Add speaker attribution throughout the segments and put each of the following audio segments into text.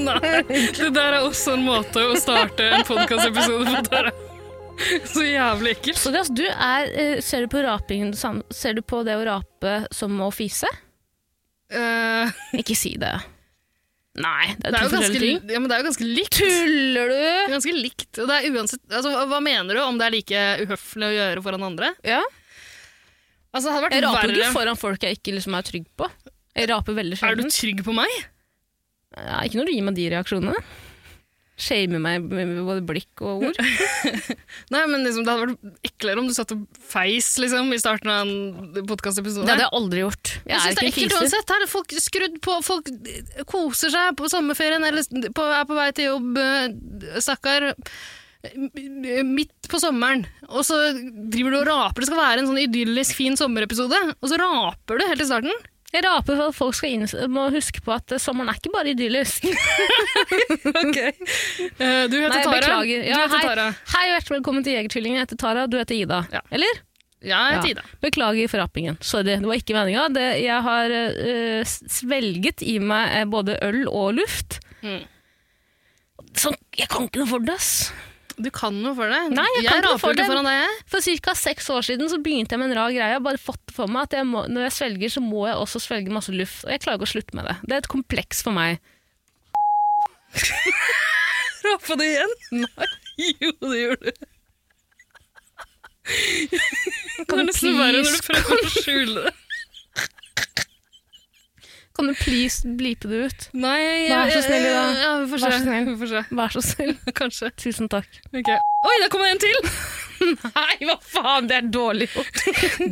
Speaker 1: Nei, det der er også en måte å starte en podkastepisode på. Tara. Så jævlig ekkelt.
Speaker 2: Så Andreas, du er, eh, ser, du på rapingen, sam- ser du på det å rape som å fise?
Speaker 1: Eh,
Speaker 2: Ikke si det. Nei, det
Speaker 1: det, er
Speaker 2: er, to
Speaker 1: jo ganske,
Speaker 2: forskjellige ting.
Speaker 1: ja, men det er jo ganske likt.
Speaker 2: Tuller
Speaker 1: Det
Speaker 2: du?
Speaker 1: er ganske likt. Og det er uansett, altså, hva- hva mener du om det er like uhøflig å gjøre foran andre?
Speaker 2: Ja.
Speaker 1: Altså, det hadde
Speaker 2: Jeg
Speaker 1: vært
Speaker 2: raper jo ikke
Speaker 1: verre.
Speaker 2: foran folk jeg ikke liksom er trygg på. Jeg raper
Speaker 1: Er
Speaker 2: veldig
Speaker 1: du
Speaker 2: sjelden.
Speaker 1: trygg på meg?
Speaker 2: Ja, ikke når du gir meg de reaksjonene. Shamer meg med både blikk og ord.
Speaker 1: Nei, men liksom, Det hadde vært eklere om du satt og feis liksom, i starten av en podkastepisode.
Speaker 2: Det hadde jeg aldri gjort. Jeg,
Speaker 1: Jeg synes
Speaker 2: er
Speaker 1: det er
Speaker 2: ikke en
Speaker 1: ekkelt
Speaker 2: fiser.
Speaker 1: uansett. Her er folk skrudd på, folk koser seg på sommerferien eller på, er på vei til jobb, øh, stakkar. eh, M- Midt på sommeren, og så driver du og raper. Det skal være en sånn idyllisk, fin sommerepisode, og så raper du helt i starten.
Speaker 2: Jeg raper for at folk skal inns- må huske på at eh, sommeren er ikke bare idyllisk.
Speaker 1: Eh, Du heter
Speaker 2: Nei,
Speaker 1: Tara.
Speaker 2: beklager. Ja,
Speaker 1: du heter
Speaker 2: hei.
Speaker 1: Tara.
Speaker 2: Hei og hjertelig velkommen til Jegertvillingen. Jeg heter Tara, du heter Ida.
Speaker 1: Ja.
Speaker 2: Eller?
Speaker 1: Ja, jeg heter Ida.
Speaker 2: Beklager for rappingen. Sorry, det var ikke meninga. Det, jeg har eh, s- svelget i meg eh, både øl og luft.
Speaker 1: Mm.
Speaker 2: Sånn, jeg kan ikke noe for det, ass.
Speaker 1: Du kan noe for det.
Speaker 2: Nei, jeg
Speaker 1: jeg
Speaker 2: kan ikke noe
Speaker 1: raper
Speaker 2: for
Speaker 1: ikke
Speaker 2: det.
Speaker 1: foran deg, jeg.
Speaker 2: For ca. seks år siden så begynte jeg med en rar greie. Jeg har bare fått for meg at jeg må, når jeg svelger, så må jeg også svelge masse luft. Og jeg klarer ikke å slutte med det. Det er et kompleks for meg.
Speaker 1: Rapa du igjen? Nei. Jo, det gjorde du.
Speaker 2: Kan du please,
Speaker 1: prøver å skjule det.
Speaker 2: kan du please blipe det ut?
Speaker 1: Nei,
Speaker 2: Vær så
Speaker 1: jeg-
Speaker 2: snill, Ida.
Speaker 1: Ja, vi får
Speaker 2: Vær
Speaker 1: se.
Speaker 2: så snill.
Speaker 1: Vi får se.
Speaker 2: Vær så snill.
Speaker 1: Kanskje.
Speaker 2: Tusen takk.
Speaker 1: Ok. Oi, der kommer det en til!
Speaker 2: Nei, hva faen, det er dårlig gjort.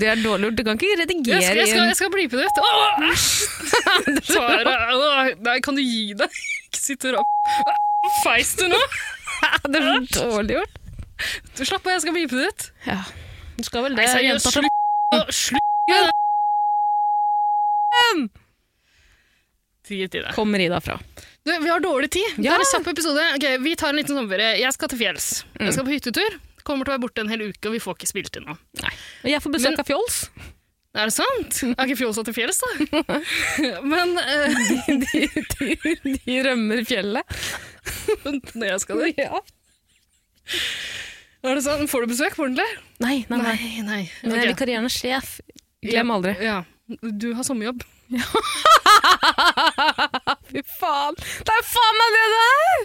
Speaker 2: Det er dårlig gjort. Du kan ikke redigere
Speaker 1: Jeg skal, jeg skal, jeg skal blipe det ut. Åh, æsj! Tara, åh, nei, kan du gi deg? Ikke sitt og rapp. Feis du nå?
Speaker 2: igjen. Det er dårlig gjort.
Speaker 1: Du, Slapp av, jeg skal blipe det ut. Eh,
Speaker 2: Ja. Du skal vel
Speaker 1: Nei,
Speaker 2: det.
Speaker 1: seriøst,
Speaker 2: jenta fra
Speaker 1: slutt. Åh, Slutt med det! Drit i det.
Speaker 2: kommer Ida fra.
Speaker 1: Du, vi har dårlig tid. Det
Speaker 2: Ja.
Speaker 1: er en kjapp episode. Ok, vi tar en liten sånn sommerferie. Jeg skal til fjells. Jeg skal på hyttetur. Kommer til å være borte en hel uke, og vi får ikke spilt inn noe.
Speaker 2: Og jeg får besøk
Speaker 1: Men-
Speaker 2: av fjols.
Speaker 1: Er det sant? Er ikke Fjosa til fjells, da? Men eh,
Speaker 2: De, de, de rømmer fjellet.
Speaker 1: når jeg skal dit Er det sant? Får du besøk på ordentlig?
Speaker 2: Nei, nei, nei.
Speaker 1: nei.
Speaker 2: Men jeg er
Speaker 1: Ok.
Speaker 2: vikarierende sjef. Glem aldri.
Speaker 1: Ja. Du har sommerjobb.
Speaker 2: Fy faen! Det er faen meg det der!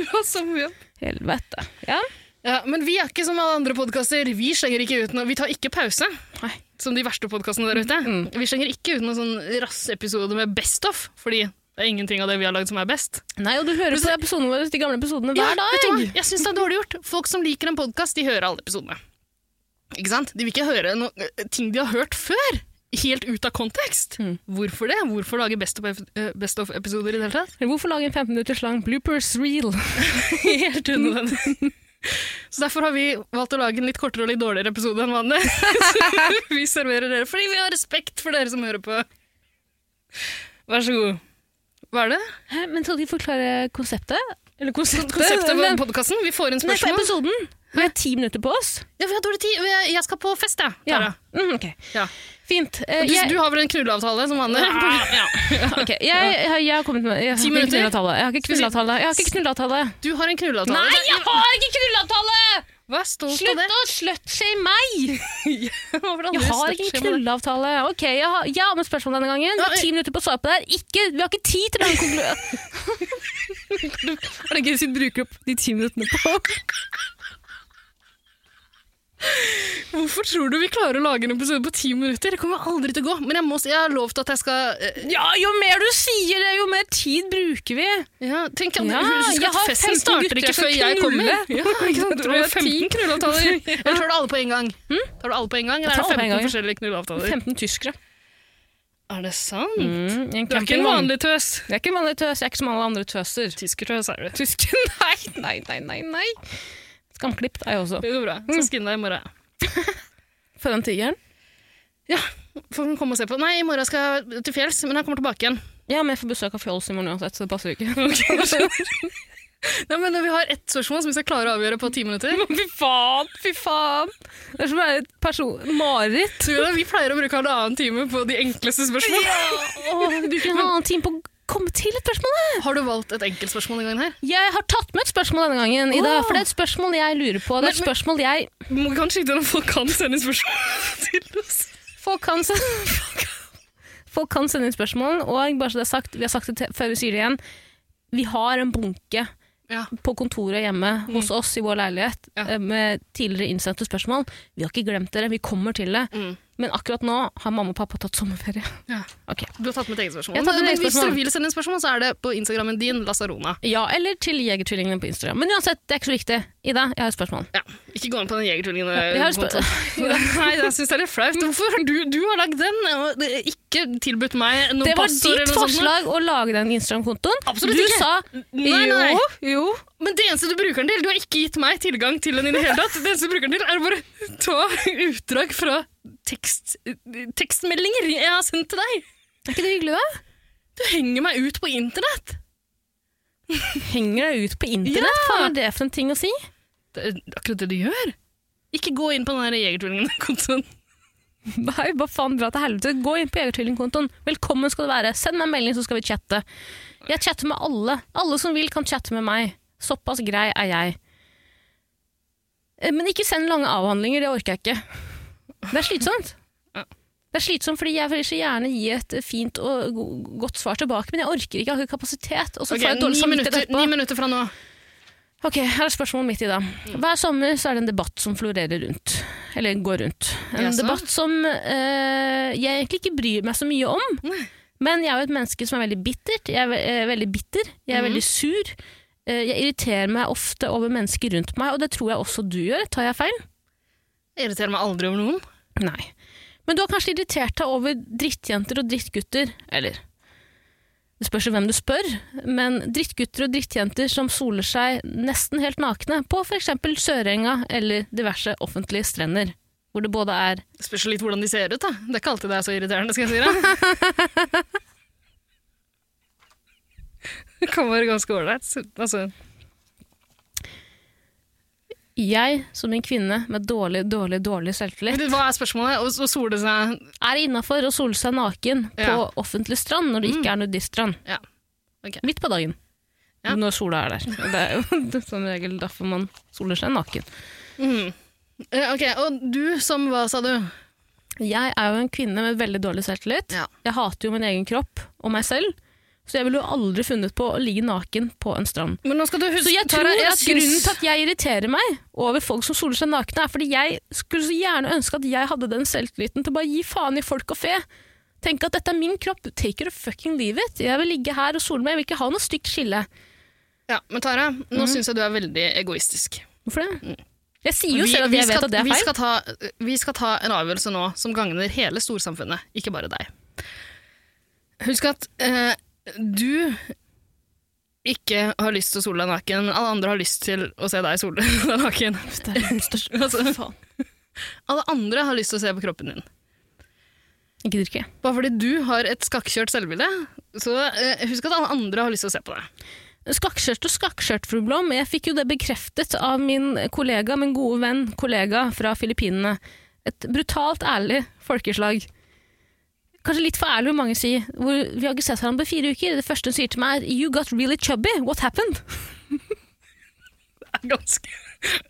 Speaker 1: Du har sommerjobb.
Speaker 2: Helvete. Ja.
Speaker 1: Ja, men vi er ikke som alle andre podkaster. Vi slenger ikke ut noe Vi tar ikke pause,
Speaker 2: Nei.
Speaker 1: som de verste podkastene der ute.
Speaker 2: Mm.
Speaker 1: Vi slenger ikke ut noen sånn rasseepisode med Best of, fordi det er ingenting av det vi har lagd som er best.
Speaker 2: Nei, og du hører på episodene våre, de gamle episodene hver
Speaker 1: Ja, vet du
Speaker 2: dag.
Speaker 1: hva? Jeg syns det er dårlig gjort. Folk som liker en podkast, de hører alle episodene. Ikke sant? De vil ikke høre no ting de har hørt før. Helt ut av kontekst.
Speaker 2: Mm.
Speaker 1: Hvorfor det? Hvorfor lage Best of-episoder best of episoder i det hele tatt?
Speaker 2: Hvorfor lage en 15 minutters lang bloopers reel?
Speaker 1: Helt unødvendig. Mm. Så derfor har vi valgt å lage en litt kortere og litt dårligere episode enn vanlig. Så vi serverer dere fordi vi har respekt for dere som hører på. Vær så god. Hva er det?
Speaker 2: Hæ, Men skal de forklare konseptet? Eller konseptet?
Speaker 1: Konseptet på
Speaker 2: Men-
Speaker 1: podkasten? Vi får inn
Speaker 2: Nei, for
Speaker 1: spørsmål.
Speaker 2: episoden. Vi har ti minutter på oss.
Speaker 1: Ja, vi har dårlig tid. Jeg skal på fest, jeg. Tara.
Speaker 2: Mm, ok.
Speaker 1: Ja.
Speaker 2: Fint. Eh,
Speaker 1: Du,
Speaker 2: jeg-
Speaker 1: du har vel en knulleavtale som vanlig?
Speaker 2: Ok, jeg, jeg, jeg har kommet med jeg har
Speaker 1: Ti
Speaker 2: ikke
Speaker 1: minutter?
Speaker 2: knullavtale. Jeg har ikke knullavtale. Jeg har ikke knullavtale.
Speaker 1: Du har en knulleavtale.
Speaker 2: Nei, jeg har ikke knullavtale!
Speaker 1: Vær stolt av det.
Speaker 2: Slutt å slutshame meg!
Speaker 1: Over
Speaker 2: Jeg
Speaker 1: andres
Speaker 2: har ikke en
Speaker 1: støttskjema.
Speaker 2: knullavtale. Ok, jeg har, jeg har med spørsmål denne gangen. Vi har ti minutter på å svare på det her. Ikke, vi har ikke tid til den konklusjonen. Er det gøy hvis vi bruker opp de ti minuttene på
Speaker 1: Hvorfor tror du vi klarer å lage en episode på ti minutter? Det kommer aldri til å gå. Men jeg, må, si- jeg har lovt at jeg skal eh,
Speaker 2: Ja, jo mer du sier det, jo mer tid bruker vi.
Speaker 1: Ja, tenk om
Speaker 2: Ja,
Speaker 1: husk
Speaker 2: jeg
Speaker 1: at
Speaker 2: har
Speaker 1: festen
Speaker 2: 15
Speaker 1: starter
Speaker 2: gutter
Speaker 1: ikke
Speaker 2: jeg skal
Speaker 1: før jeg kommer.
Speaker 2: knulle.
Speaker 1: Ja, ikke sant?
Speaker 2: Da
Speaker 1: Du
Speaker 2: tror jeg
Speaker 1: har 15 knulleavtaler. Eller tar du alle på en gang? Tar du alle på en gang,
Speaker 2: Jeg
Speaker 1: eller
Speaker 2: tar
Speaker 1: er
Speaker 2: alle på
Speaker 1: det
Speaker 2: en
Speaker 1: 15
Speaker 2: gang, ja.
Speaker 1: forskjellige knulleavtaler?
Speaker 2: 15 tyskere.
Speaker 1: Er det sant?
Speaker 2: Mm, en
Speaker 1: Du er ikke en
Speaker 2: campingvogn.
Speaker 1: vanlig tøs.
Speaker 2: Jeg er ikke en vanlig tøs, jeg er ikke som alle andre tøser.
Speaker 1: Tyskertøs er du.
Speaker 2: Tysk, nei, nei, nei, nei, nei. Skamklipp er jeg også.
Speaker 1: Det går bra. Så
Speaker 2: Mm.
Speaker 1: skinn deg i morgen.
Speaker 2: For den tigeren?
Speaker 1: Ja, får hun komme og se på. Nei, i morgen skal jeg til fjells, men han kommer tilbake igjen.
Speaker 2: Ja, men jeg får besøk av fjols i morgen uansett, så det passer jo ikke.
Speaker 1: Nei, men Vi har ett spørsmål som vi skal klare å avgjøre på ti minutter.
Speaker 2: fy faen, fy faen! Det er som å være et person... Marit.
Speaker 1: Så Vi pleier å bruke halvannen time på de enkleste spørsmål.
Speaker 2: Åh, vi bruker en halvannen time på å komme til et spørsmål. da.
Speaker 1: Har du valgt et enkeltspørsmål denne gangen? her?
Speaker 2: Jeg har tatt med et spørsmål denne gangen, Ida,
Speaker 1: Åh.
Speaker 2: for det er et spørsmål jeg lurer på. Det er et
Speaker 1: Men-
Speaker 2: spørsmål jeg...
Speaker 1: Må kanskje ikke noen folk kan sende spørsmål til oss.
Speaker 2: Folk kan sende, folk kan sende inn spørsmål, og bare så det er sagt, vi har sagt det te- før vi sier det igjen, vi har en bunke
Speaker 1: Ja.
Speaker 2: på kontoret hjemme hos oss i vår leilighet
Speaker 1: Mm. Ja.
Speaker 2: eh, med tidligere innsendte spørsmål. Vi har ikke glemt dere, vi kommer til det.
Speaker 1: Mm.
Speaker 2: Men akkurat nå har mamma og pappa tatt sommerferie.
Speaker 1: Ja.
Speaker 2: Ok.
Speaker 1: Du har tatt med et eget spørsmål.
Speaker 2: Jeg har tatt med et
Speaker 1: Men eh,
Speaker 2: eget
Speaker 1: Hvis
Speaker 2: spørsmål.
Speaker 1: du vil sende en spørsmål, så er det på Instagrammen din, Lasarona.
Speaker 2: Ja, eller til Jegertvillingene på Instagram. Men uansett, det er ikke så viktig. Ida, jeg har et spørsmål.
Speaker 1: Ja. Ikke gå inn på den jegertvillingen.
Speaker 2: Jeg har et spørsmål.
Speaker 1: Nei, jeg syns det er litt flaut. Hvorfor har du, du har lagd den, og det- ikke tilbudt meg noe
Speaker 2: Det var
Speaker 1: passord
Speaker 2: ditt
Speaker 1: eller noe sånt? nå.
Speaker 2: forslag å lage den Instagram-kontoen.
Speaker 1: Absolutt
Speaker 2: du
Speaker 1: ikke.
Speaker 2: sa
Speaker 1: Nei, nei.
Speaker 2: jo, jo.
Speaker 1: Men det eneste du bruker den til, du har ikke gitt meg tilgang til den i det hele tatt. Det eneste du bruker den til, er å bare ta utdrag fra tekst, tekstmeldinger jeg har sendt til deg.
Speaker 2: Er ikke det hyggelig, da?
Speaker 1: Du henger meg ut på internett.
Speaker 2: Henger deg ut på internett?
Speaker 1: Ja.
Speaker 2: Faen, er det for en ting å si?
Speaker 1: Det er akkurat det du gjør. Ikke gå inn på den der Jegertvillingen-kontoen.
Speaker 2: Nei, hva faen, dra til helvete. Gå inn på Jegertvillingkontoen. Velkommen skal du være. Send meg en melding, så skal vi chatte. Jeg chatter med alle. Alle som vil, kan chatte med meg. Såpass grei er jeg. Eh, Men ikke send lange avhandlinger, det orker jeg ikke. Det er slitsomt.
Speaker 1: Ja.
Speaker 2: Det er slitsomt, fordi jeg vil så gjerne gi et fint og go- godt svar tilbake, men jeg orker ikke, jeg har ikke kapasitet. Og så
Speaker 1: Ok,
Speaker 2: får jeg dårlig
Speaker 1: ni
Speaker 2: samvittighet
Speaker 1: minutter,
Speaker 2: etterpå.
Speaker 1: ni minutter fra nå.
Speaker 2: Ok, her er spørsmålet mitt i dag.
Speaker 1: Mm.
Speaker 2: Hver sommer så er det en debatt som florerer rundt. Eller går rundt. En
Speaker 1: Jaså?
Speaker 2: debatt som eh, jeg egentlig ikke bryr meg så mye om.
Speaker 1: Nei.
Speaker 2: Men jeg er jo et menneske som er veldig bittert. Jeg er ve eh, veldig bitter. Jeg er
Speaker 1: Mhm.
Speaker 2: veldig sur. Eh, jeg irriterer meg ofte over mennesker rundt meg, og det tror jeg også du gjør. Tar jeg feil?
Speaker 1: Jeg irriterer meg aldri over noen.
Speaker 2: Nei. Men du har kanskje irritert deg over drittjenter og drittgutter, eller Det spørs jo hvem du spør, men drittgutter og drittjenter som soler seg nesten helt nakne på f.eks. Sørenga eller diverse offentlige strender, hvor det både er
Speaker 1: Det spørs jo litt hvordan de ser ut, da. Det er ikke alltid det er så irriterende, skal jeg si deg. Det kan være ganske ålreit. så- Altså,
Speaker 2: jeg som en kvinne med dårlig, dårlig, dårlig selvtillit,
Speaker 1: men hva er spørsmålet? Å å sole seg
Speaker 2: er innafor å sole seg naken på
Speaker 1: Ja.
Speaker 2: offentlig strand når det ikke er nudiststrand.
Speaker 1: Ja. Ok.
Speaker 2: Midt på dagen.
Speaker 1: Ja.
Speaker 2: Når sola er der. Det er jo som regel derfor man soler seg naken.
Speaker 1: Mhm. Eh, Ok, og du som hva, sa du?
Speaker 2: Jeg er jo en kvinne med veldig dårlig selvtillit.
Speaker 1: Ja.
Speaker 2: Jeg hater jo min egen kropp og meg selv, så jeg ville jo aldri funnet på å ligge naken på en strand.
Speaker 1: Men nå skal du huske
Speaker 2: Så jeg tror
Speaker 1: Tara,
Speaker 2: at
Speaker 1: syns-
Speaker 2: grunnen til at jeg irriterer meg over folk som soler seg nakne, er fordi jeg skulle så gjerne ønske at jeg hadde den selvtilliten til å bare gi faen i folk og fe. Tenke at dette er min kropp, take it or fucking leave it. Jeg vil ligge her og sole meg, jeg vil ikke ha noe stygt skille.
Speaker 1: Ja, men Tara, nå
Speaker 2: Mhm.
Speaker 1: syns jeg du er veldig egoistisk.
Speaker 2: Hvorfor det? Jeg sier jo selv at jeg vet at det
Speaker 1: Mm.
Speaker 2: er
Speaker 1: vi
Speaker 2: feil.
Speaker 1: skal, ta, vi skal ta en avgjørelse nå som gagner hele storsamfunnet, ikke bare deg. Husk at eh, du ikke har lyst til å sole deg naken. Alle andre har lyst til å se deg sole deg naken.
Speaker 2: Det er den største-
Speaker 1: Altså-
Speaker 2: faen.
Speaker 1: Alle andre har lyst til å se på kroppen din.
Speaker 2: Jeg gidder ikke.
Speaker 1: Bare fordi du har et skakkjørt selvbilde, så eh, husk at alle andre har lyst til å se på deg.
Speaker 2: Skakkskjørt og skakkskjørt, fru Blom. Jeg fikk jo det bekreftet av min kollega, min gode venn, kollega fra Filippinene. Et brutalt ærlig folkeslag. Kanskje litt for ærlig, vil mange si. Hvor vi har ikke sett hverandre på fire uker. Det første hun sier til meg er 'You got really chubby. What happened?'
Speaker 1: Det er ganske,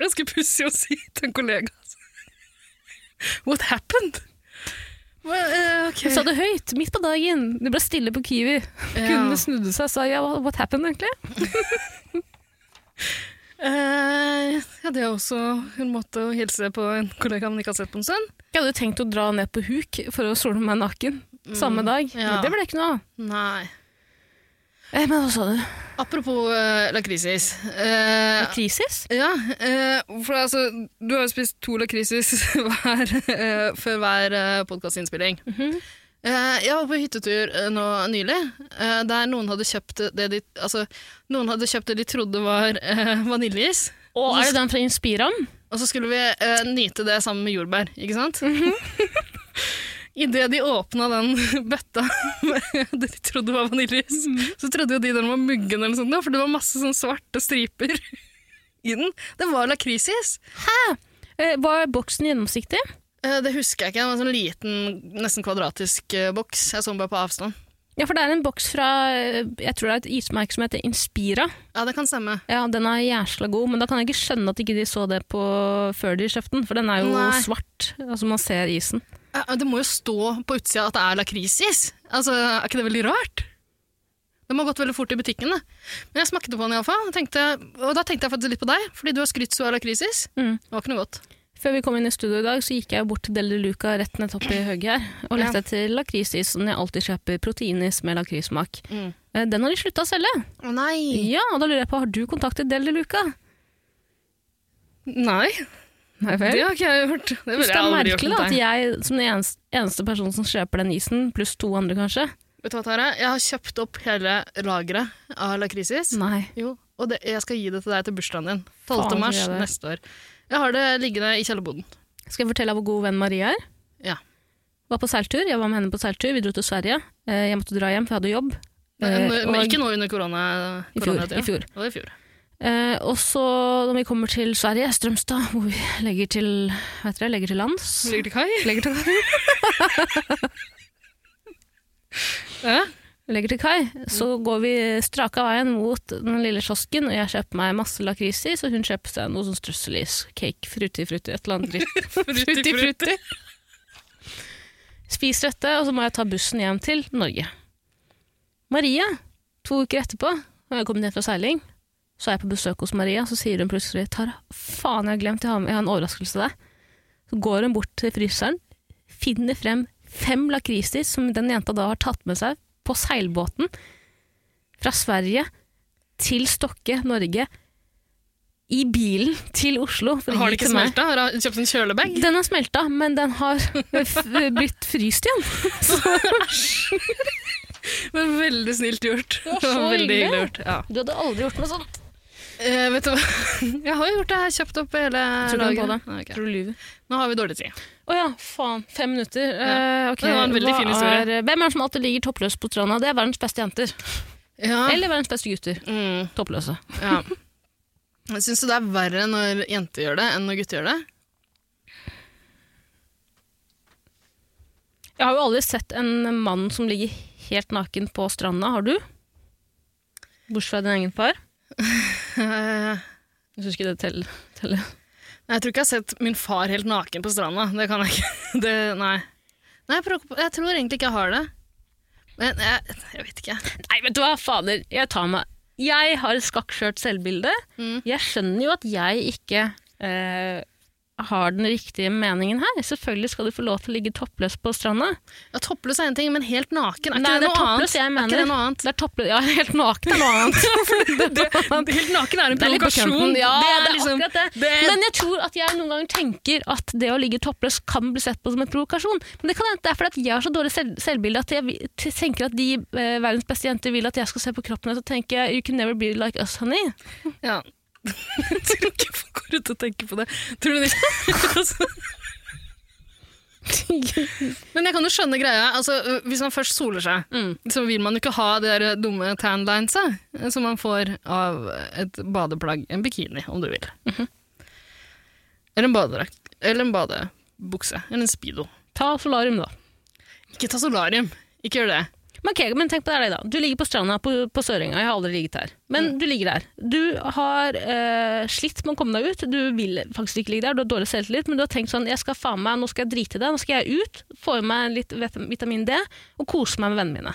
Speaker 1: ganske pussig å si til en kollega. altså. What happened? Well, eh, ok.
Speaker 2: Hun sa det høyt, midt på dagen. Det ble stille på Kiwi.
Speaker 1: Ja.
Speaker 2: Kundene snudde seg og sa ja, 'What happened', egentlig?
Speaker 1: Eh, ja, det er også en måte å hilse på en kollega man ikke har sett på en stund.
Speaker 2: Jeg hadde jo tenkt å dra ned på huk for å sole meg naken samme dag.
Speaker 1: ja.
Speaker 2: Men det ble ikke noe av.
Speaker 1: Nei.
Speaker 2: Eh, Men hva sa du?
Speaker 1: Apropos eh, lakrisis. Eh,
Speaker 2: Krisis?
Speaker 1: ja, eh, for altså, du har jo spist to lakrisis hver, eh, før hver eh, podkastinnspilling. Eh, Jeg var på hyttetur eh, nå nylig, eh, der noen hadde kjøpt det de, altså, noen hadde kjøpt det de trodde var eh, vaniljeis.
Speaker 2: Og er det den fra Inspiram?
Speaker 1: Og så skulle vi eh, nyte det sammen med jordbær, ikke sant? Idet de åpna den bøtta med det de trodde var vaniljeis, så trodde jo de den var muggen, eller sånt, da, for det var masse sånn svarte striper i den. Det var lakrisis.
Speaker 2: Eh, Var boksen gjennomsiktig?
Speaker 1: Eh, Det husker jeg ikke. Det var en sånn liten, nesten kvadratisk eh, boks. Jeg så den bare på avstand.
Speaker 2: Ja, for det er en boks fra eh, jeg tror det er et ismerke som heter Inspira.
Speaker 1: Ja, det kan stemme.
Speaker 2: Ja, Den er jæsla god, men da kan jeg ikke skjønne at ikke de så det på før de kjøpte den, for den er jo
Speaker 1: Nei.
Speaker 2: svart. Altså Man ser isen.
Speaker 1: Eh, Det må jo stå på utsida at det er lakrisis. Altså, er ikke det veldig rart? Det må ha gått veldig fort i butikken. Da. Men jeg smakte på den iallfall. Og, tenkte- og da tenkte jeg faktisk litt på deg, fordi du har skrytt så av lakrisis.
Speaker 2: Mm.
Speaker 1: Det var ikke noe godt.
Speaker 2: Før vi kom inn i studio i dag, så gikk jeg jo bort til Deli Luca rett nettopp i høgget her, og lette etter lakrisis, som jeg alltid kjøper proteinis med lakrissmak.
Speaker 1: Mm.
Speaker 2: Eh, Den har de slutta å selge.
Speaker 1: Å nei!
Speaker 2: Ja, og da lurer jeg på, har du kontaktet Deli Luca?
Speaker 1: Nei,
Speaker 2: Nei
Speaker 1: det har ikke jeg gjort. Det
Speaker 2: Husk
Speaker 1: ville
Speaker 2: det
Speaker 1: jeg
Speaker 2: er
Speaker 1: aldri gjort
Speaker 2: merkelig da,
Speaker 1: mot
Speaker 2: at
Speaker 1: deg.
Speaker 2: jeg, som den eneste, eneste personen som kjøper den isen, pluss to andre kanskje
Speaker 1: Vet du hva, Tara? Jeg har kjøpt opp hele lageret av lakrisis.
Speaker 2: Nei.
Speaker 1: Jo, og det, jeg skal gi det til deg til bursdagen din. 12.
Speaker 2: Faen,
Speaker 1: mars
Speaker 2: skal jeg det?
Speaker 1: neste år. Jeg har det liggende i kjellerboden.
Speaker 2: Skal jeg fortelle deg hvor god venn Maria er?
Speaker 1: Ja.
Speaker 2: Var på seiltur, jeg var med henne på seiltur, vi dro til Sverige. Eh, Jeg måtte dra hjem, for jeg hadde jobb.
Speaker 1: Men,
Speaker 2: Eh,
Speaker 1: men
Speaker 2: og-
Speaker 1: ikke nå under korona.
Speaker 2: I fjor,
Speaker 1: koronatida.
Speaker 2: i fjor.
Speaker 1: Det var i fjor.
Speaker 2: Eh, og så når vi kommer til Sverige, Strømstad, hvor vi legger til, hva heter det, legger til lands.
Speaker 1: Ligger til kai?
Speaker 2: Legger til,
Speaker 1: Ja.
Speaker 2: legger til kai. Så
Speaker 1: Mm.
Speaker 2: går vi straka veien mot den lille kiosken, og jeg kjøper meg masse lakrisis, og hun kjøper seg noe sånn strøsselis, cake, frutti, frutti, et eller annet dritt.
Speaker 1: Frutti, frutti.
Speaker 2: Spiser dette, og så må jeg ta bussen hjem til Norge. Maria, to uker etterpå, når jeg kom ned fra seiling, så er jeg på besøk hos Maria, så sier hun plutselig Tara, faen, jeg har glemt, jeg har, jeg har en overraskelse til deg. Så går hun bort til fryseren, finner frem fem lakrisis som den jenta da har tatt med seg på seilbåten fra Sverige til Stokke, Norge, i bilen til Oslo. for å
Speaker 1: Har
Speaker 2: gi
Speaker 1: det ikke
Speaker 2: til meg.
Speaker 1: smelta? Har du kjøpt en kjølebag?
Speaker 2: Den har smelta, men den har f blitt fryst igjen.
Speaker 1: Men veldig snilt gjort.
Speaker 2: var så
Speaker 1: veldig
Speaker 2: hyggelig.
Speaker 1: hyggelig gjort. Ja.
Speaker 2: Du hadde aldri gjort noe sånt.
Speaker 1: Eh, vet du hva? Jeg har jo gjort det. Jeg har kjøpt opp hele
Speaker 2: Tror du den på det?
Speaker 1: Ah, ok.
Speaker 2: Tror du lyver.
Speaker 1: Nå har vi dårlig tid.
Speaker 2: Å ja, faen. Fem minutter. Eh, ok,
Speaker 1: Det var en veldig
Speaker 2: hva
Speaker 1: fin historie.
Speaker 2: Er, eh, hvem er det som alltid ligger toppløs på stranda? Det er verdens beste jenter.
Speaker 1: Ja.
Speaker 2: Eller verdens beste gutter.
Speaker 1: Mm,
Speaker 2: Toppløse.
Speaker 1: ja. Syns du det er verre når jenter gjør det, enn når gutter gjør det?
Speaker 2: Jeg har jo aldri sett en mann som ligger helt naken på stranda. Har du? Bortsett fra din egen far.
Speaker 1: Eh,
Speaker 2: Jeg syns ikke det teller. teller.
Speaker 1: jeg tror ikke jeg har sett min far helt naken på stranda. Det kan jeg ikke. Det, nei. Nei, jeg, prøver- jeg tror egentlig ikke jeg har det. Men jeg, jeg vet ikke.
Speaker 2: Nei, vet du hva, fader. Jeg tar meg Jeg har et skakkskjørt selvbilde.
Speaker 1: Mm.
Speaker 2: Jeg skjønner jo at jeg ikke eh, har den riktige meningen her. Selvfølgelig skal du få lov til å ligge toppløs på stranda.
Speaker 1: Ja, toppløs er én ting, men helt naken er ikke
Speaker 2: Nei,
Speaker 1: det,
Speaker 2: det
Speaker 1: noe
Speaker 2: er toppløs
Speaker 1: annet?
Speaker 2: jeg
Speaker 1: Er ikke
Speaker 2: mener.
Speaker 1: det noe annet?
Speaker 2: Det er toppløs Ja, helt naken er noe annet. det,
Speaker 1: Helt naken er en
Speaker 2: er litt på
Speaker 1: provokasjon.
Speaker 2: kanten. Ja, det er,
Speaker 1: liksom-
Speaker 2: akkurat det.
Speaker 1: det er-
Speaker 2: Men jeg tror at jeg noen ganger tenker at det å ligge toppløs kan bli sett på som en provokasjon. Men det kan hende det er fordi at jeg har så dårlig selv selvbilde at jeg vi- t- tenker at de eh, verdens beste jenter vil at jeg skal se på kroppen deres og tenke You can never be like us, honey.
Speaker 1: Ja. jeg tror ikke folk går ut og tenker på det. Tror du det? Altså, Men jeg kan jo skjønne greia. Altså, øh, hvis man først soler seg,
Speaker 2: Mm.
Speaker 1: så vil man jo ikke ha de der dumme tanlinesa eh, som man får av et badeplagg. En bikini, om du vil.
Speaker 2: Mhm.
Speaker 1: Eller en badedrakt. Eller en badebukse. Eller en speedo.
Speaker 2: Ta solarium, da.
Speaker 1: Ikke ta solarium. Ikke gjør det.
Speaker 2: Men, ok, men tenk på det her, da. Du ligger på stranda på, på Sørenga. Jeg har aldri ligget her. Men du ligger der. Du har eh, slitt med å komme deg ut. Du vil faktisk ikke ligge der. Du har dårlig selvtillit, men du har tenkt sånn jeg skal faen meg, Nå skal jeg drite i det. Nå skal jeg ut, få i meg litt vet- vitamin D og kose meg med vennene mine.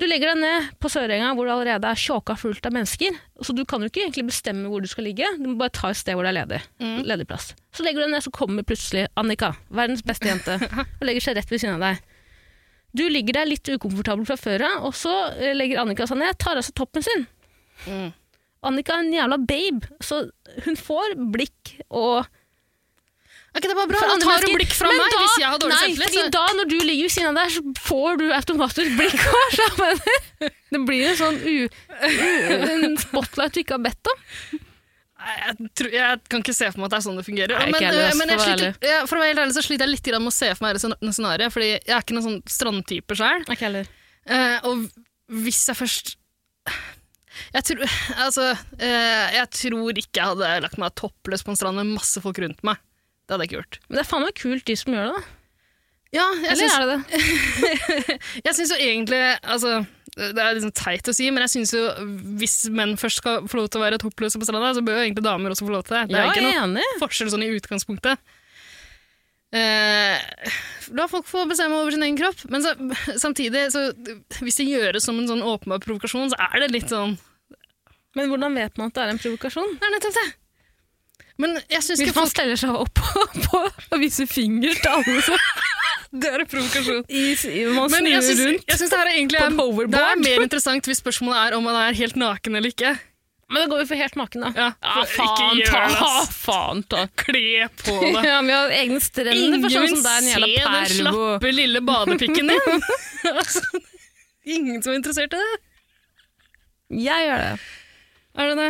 Speaker 2: Du legger deg ned på Sørenga hvor det allerede er tjåka fullt av mennesker, så du kan jo ikke egentlig bestemme hvor du skal ligge, du må bare ta et sted hvor det er ledig, ledig plass. Så legger du deg ned, så kommer plutselig Annika, verdens beste jente, og legger seg rett ved siden av deg. Du ligger der litt ukomfortabel fra før av, og så eh, legger Annika seg ned, tar av seg toppen sin.
Speaker 1: Mm.
Speaker 2: Annika er en jævla babe, så hun får blikk og
Speaker 1: Er ikke det bare bra?
Speaker 2: For
Speaker 1: Andre
Speaker 2: at han
Speaker 1: mennesker-
Speaker 2: ikke-
Speaker 1: blikk fra
Speaker 2: Men
Speaker 1: meg
Speaker 2: da-
Speaker 1: hvis jeg har dårlig
Speaker 2: nei,
Speaker 1: selvtillit.
Speaker 2: fordi
Speaker 1: så-
Speaker 2: da når du ligger ved siden av der, så får du automatisk blikk hver sammen. Det blir en sånn u, en spotlight du ikke har bedt om.
Speaker 1: Nei, Jeg, tror, jeg kan ikke se for meg at det er sånn det fungerer.
Speaker 2: Nei, ikke
Speaker 1: men,
Speaker 2: heller, ass,
Speaker 1: men jeg
Speaker 2: for å være
Speaker 1: sliter, ja, for å være helt ærlig så sliter jeg litt grann med å se for meg det sånn- scenarioet, fordi jeg er ikke noen sånn strandtype sjøl.
Speaker 2: Ikke heller.
Speaker 1: Eh, og hvis jeg først jeg tror, altså, eh, jeg tror ikke jeg hadde lagt meg toppløs på en strand med masse folk rundt meg. Det hadde jeg ikke gjort.
Speaker 2: Men det er faen meg kult de som gjør det, da.
Speaker 1: Ja, jeg
Speaker 2: Eller
Speaker 1: syns-
Speaker 2: er det det?
Speaker 1: Jeg syns jo egentlig altså, Det er liksom teit å si, men jeg syns jo hvis menn først skal få lov til å være toppløse på stranda, så bør jo egentlig damer også få lov til det. Det er
Speaker 2: Ja,
Speaker 1: ikke
Speaker 2: jeg
Speaker 1: noe
Speaker 2: er enig.
Speaker 1: forskjell sånn i utgangspunktet. Eh, la folk få bestemme over sin egen kropp, men så, samtidig, så, hvis det gjøres som en sånn åpenbar provokasjon, så er det litt sånn
Speaker 2: Men hvordan vet man at det er en provokasjon?
Speaker 1: Det er nettopp det! Men jeg syns
Speaker 2: Hvis
Speaker 1: ikke
Speaker 2: man
Speaker 1: folk
Speaker 2: steller seg opp på, og viser finger til alle som
Speaker 1: Det er en provokasjon.
Speaker 2: i, i, man
Speaker 1: Men jeg
Speaker 2: snur
Speaker 1: syns,
Speaker 2: rundt.
Speaker 1: jeg syns det her er egentlig
Speaker 2: på
Speaker 1: er,
Speaker 2: en hoverboard.
Speaker 1: det er mer interessant hvis spørsmålet er om man er helt naken eller ikke.
Speaker 2: Men da går vi for helt maken, da.
Speaker 1: Ja,
Speaker 2: Ja,
Speaker 1: for-
Speaker 2: faen
Speaker 1: ikke gjør
Speaker 2: ta!
Speaker 1: det, ass.
Speaker 2: Faen ta!
Speaker 1: Kle på deg.
Speaker 2: Ja, vi har egne strender
Speaker 1: Ingen
Speaker 2: for
Speaker 1: vil
Speaker 2: sånn som det er en
Speaker 1: se den
Speaker 2: jævla pervo.
Speaker 1: slappe lille badepikken din. altså, ingen som er interessert i det.
Speaker 2: Jeg gjør det.
Speaker 1: Er det det?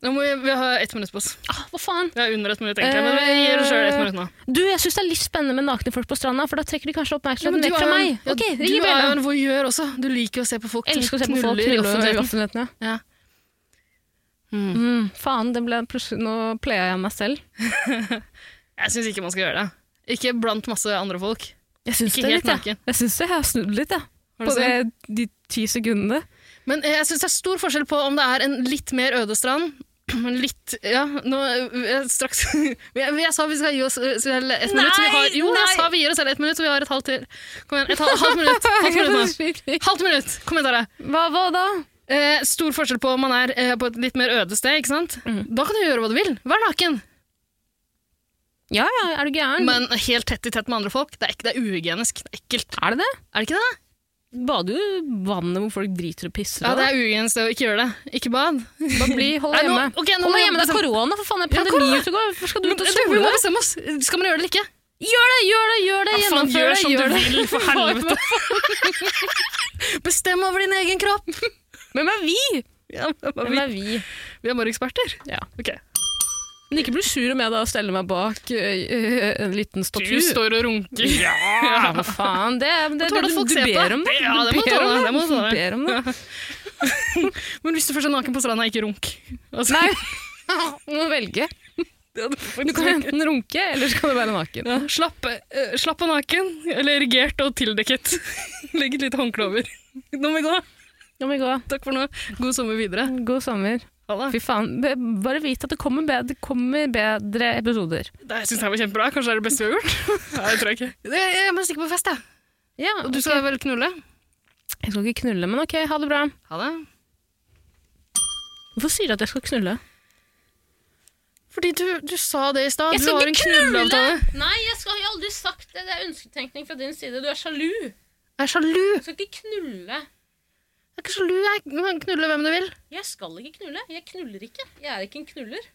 Speaker 1: Nå må vi, vi ha ett minutt på oss.
Speaker 2: Ah, hva faen?
Speaker 1: Vi har under ett minutt, egentlig. Men vi gir oss sjøl ett minutt nå.
Speaker 2: Du, jeg syns det er litt spennende med nakne folk på stranda, for da trekker de kanskje oppmerksomheten vekk
Speaker 1: er jo
Speaker 2: fra
Speaker 1: en-
Speaker 2: meg.
Speaker 1: ja,
Speaker 2: Ok,
Speaker 1: du
Speaker 2: gi
Speaker 1: er jo
Speaker 2: bjella.
Speaker 1: en voyeur også. Du liker jo å se på folk som
Speaker 2: Elsker å se på folk
Speaker 1: i
Speaker 2: knulle i
Speaker 1: offentligheten.
Speaker 2: offentligheten. Ja.
Speaker 1: Ja.
Speaker 2: Mm, faen, det ble plutselig, nå playa jeg meg selv.
Speaker 1: Jeg syns ikke man skal gjøre det. Ikke blant masse andre folk.
Speaker 2: Jeg syns
Speaker 1: Ikke
Speaker 2: det
Speaker 1: helt
Speaker 2: litt,
Speaker 1: naken.
Speaker 2: jeg. Jeg syns det, jeg har snudd litt, jeg.
Speaker 1: Har du
Speaker 2: På det, de ti sekundene.
Speaker 1: Men eh, jeg syns det er stor forskjell på om det er en litt mer øde strand Litt Ja, nå eh, straks jeg, jeg sa vi skal gi oss eh, selv ett
Speaker 2: Nei,
Speaker 1: minutt. så Vi har, jo,
Speaker 2: nei.
Speaker 1: jeg sa vi gir oss selv ett minutt, og vi har et halvt til. Kom igjen. Et halvt, halvt minutt. Halvt minutt, nå. halvt minutt. Kom igjen, Tara.
Speaker 2: Hva, hva da?
Speaker 1: Eh, stor forskjell på om man er eh, på et litt mer øde sted, ikke sant?
Speaker 2: Mhm.
Speaker 1: Da kan du gjøre hva du vil. Vær naken.
Speaker 2: Ja ja, er du gæren?
Speaker 1: Men helt tett i tett med andre folk, det er, ikke, det er uhygienisk. Det er ekkelt.
Speaker 2: er det det?
Speaker 1: Er det ikke det?
Speaker 2: Bader jo i vannet hvor folk driter og pisser.
Speaker 1: Ja,
Speaker 2: og sånn.
Speaker 1: det er uhygienisk det å ikke gjøre det. Ikke bad.
Speaker 2: Bare bli, hold
Speaker 1: Nei,
Speaker 2: deg
Speaker 1: nå-
Speaker 2: hjemme.
Speaker 1: ok, nå må
Speaker 2: hold deg
Speaker 1: jeg
Speaker 2: hjemme, det er
Speaker 1: bestemme-
Speaker 2: korona, for faen. Det
Speaker 1: liksom.
Speaker 2: er
Speaker 1: Ja,
Speaker 2: pandemi ute og går. Hvorfor skal du
Speaker 1: Men, eh,
Speaker 2: ut og
Speaker 1: du, vi
Speaker 2: sole
Speaker 1: må
Speaker 2: deg?
Speaker 1: bestemme oss. Skal man gjøre det eller ikke?
Speaker 2: Gjør det, gjør det, gjør det!
Speaker 1: Ja, faen,
Speaker 2: Gjennomfør
Speaker 1: gjør
Speaker 2: det,
Speaker 1: som du
Speaker 2: gjør det.
Speaker 1: vil, for helvete. Bestem over din egen kropp!
Speaker 2: Hvem er vi? Hvem
Speaker 1: vi,
Speaker 2: er vi?
Speaker 1: er bare eksperter.
Speaker 2: Ja.
Speaker 1: Ok.
Speaker 2: Men ikke bli sur om jeg da steller meg bak ø, ø, en liten
Speaker 1: Du
Speaker 2: statue.
Speaker 1: står og runker.
Speaker 2: Ja, hva faen. Det, er- det,
Speaker 1: Tåler
Speaker 2: det,
Speaker 1: at folk
Speaker 2: du, du
Speaker 1: ser på deg.
Speaker 2: ber om det.
Speaker 1: Ja,
Speaker 2: Du
Speaker 1: det må du
Speaker 2: ber om
Speaker 1: tåle,
Speaker 2: det.
Speaker 1: det må du
Speaker 2: Du
Speaker 1: tåle.
Speaker 2: ber om det.
Speaker 1: Men hvis du først er naken på stranda, ikke runk. Altså,
Speaker 2: Nei, du må velge.
Speaker 1: det hadde
Speaker 2: Du
Speaker 1: faktisk
Speaker 2: kan
Speaker 1: vært-
Speaker 2: enten runke, eller så kan du være naken.
Speaker 1: ja, slapp, eh, slapp av naken, eller erigert og tildekket. Legg et lite håndkle over. Nå må vi gå.
Speaker 2: Nå må vi gå.
Speaker 1: Takk for nå. God sommer videre.
Speaker 2: God sommer.
Speaker 1: Ha det.
Speaker 2: Fy faen. be- Bare vit at det kommer bedre, det kommer bedre episoder.
Speaker 1: Det- Jeg syns det her var kjempebra. Kanskje det er det beste vi har gjort? Nei, det tror jeg ikke. Jeg, jeg må stikke på fest, jeg.
Speaker 2: Ja,
Speaker 1: Og du skal vel knulle?
Speaker 2: Jeg skal ikke knulle, men ok, ha det bra.
Speaker 1: Ha det.
Speaker 2: Hvorfor sier du at jeg skal knulle?
Speaker 1: Fordi du, du sa det i stad.
Speaker 2: Jeg
Speaker 1: Du
Speaker 2: skal
Speaker 1: har
Speaker 2: ikke
Speaker 1: en
Speaker 2: knulle!
Speaker 1: knulleavtale.
Speaker 2: Nei, jeg skal jeg har aldri sagt det. Det er ønsketenkning fra din side. Du er sjalu.
Speaker 1: Jeg er sjalu.
Speaker 2: Jeg skal ikke knulle.
Speaker 1: Jeg er ikke sjalu. Jeg kan knulle hvem du vil.
Speaker 2: Jeg skal ikke knulle. Jeg knuller ikke. Jeg er ikke en knuller.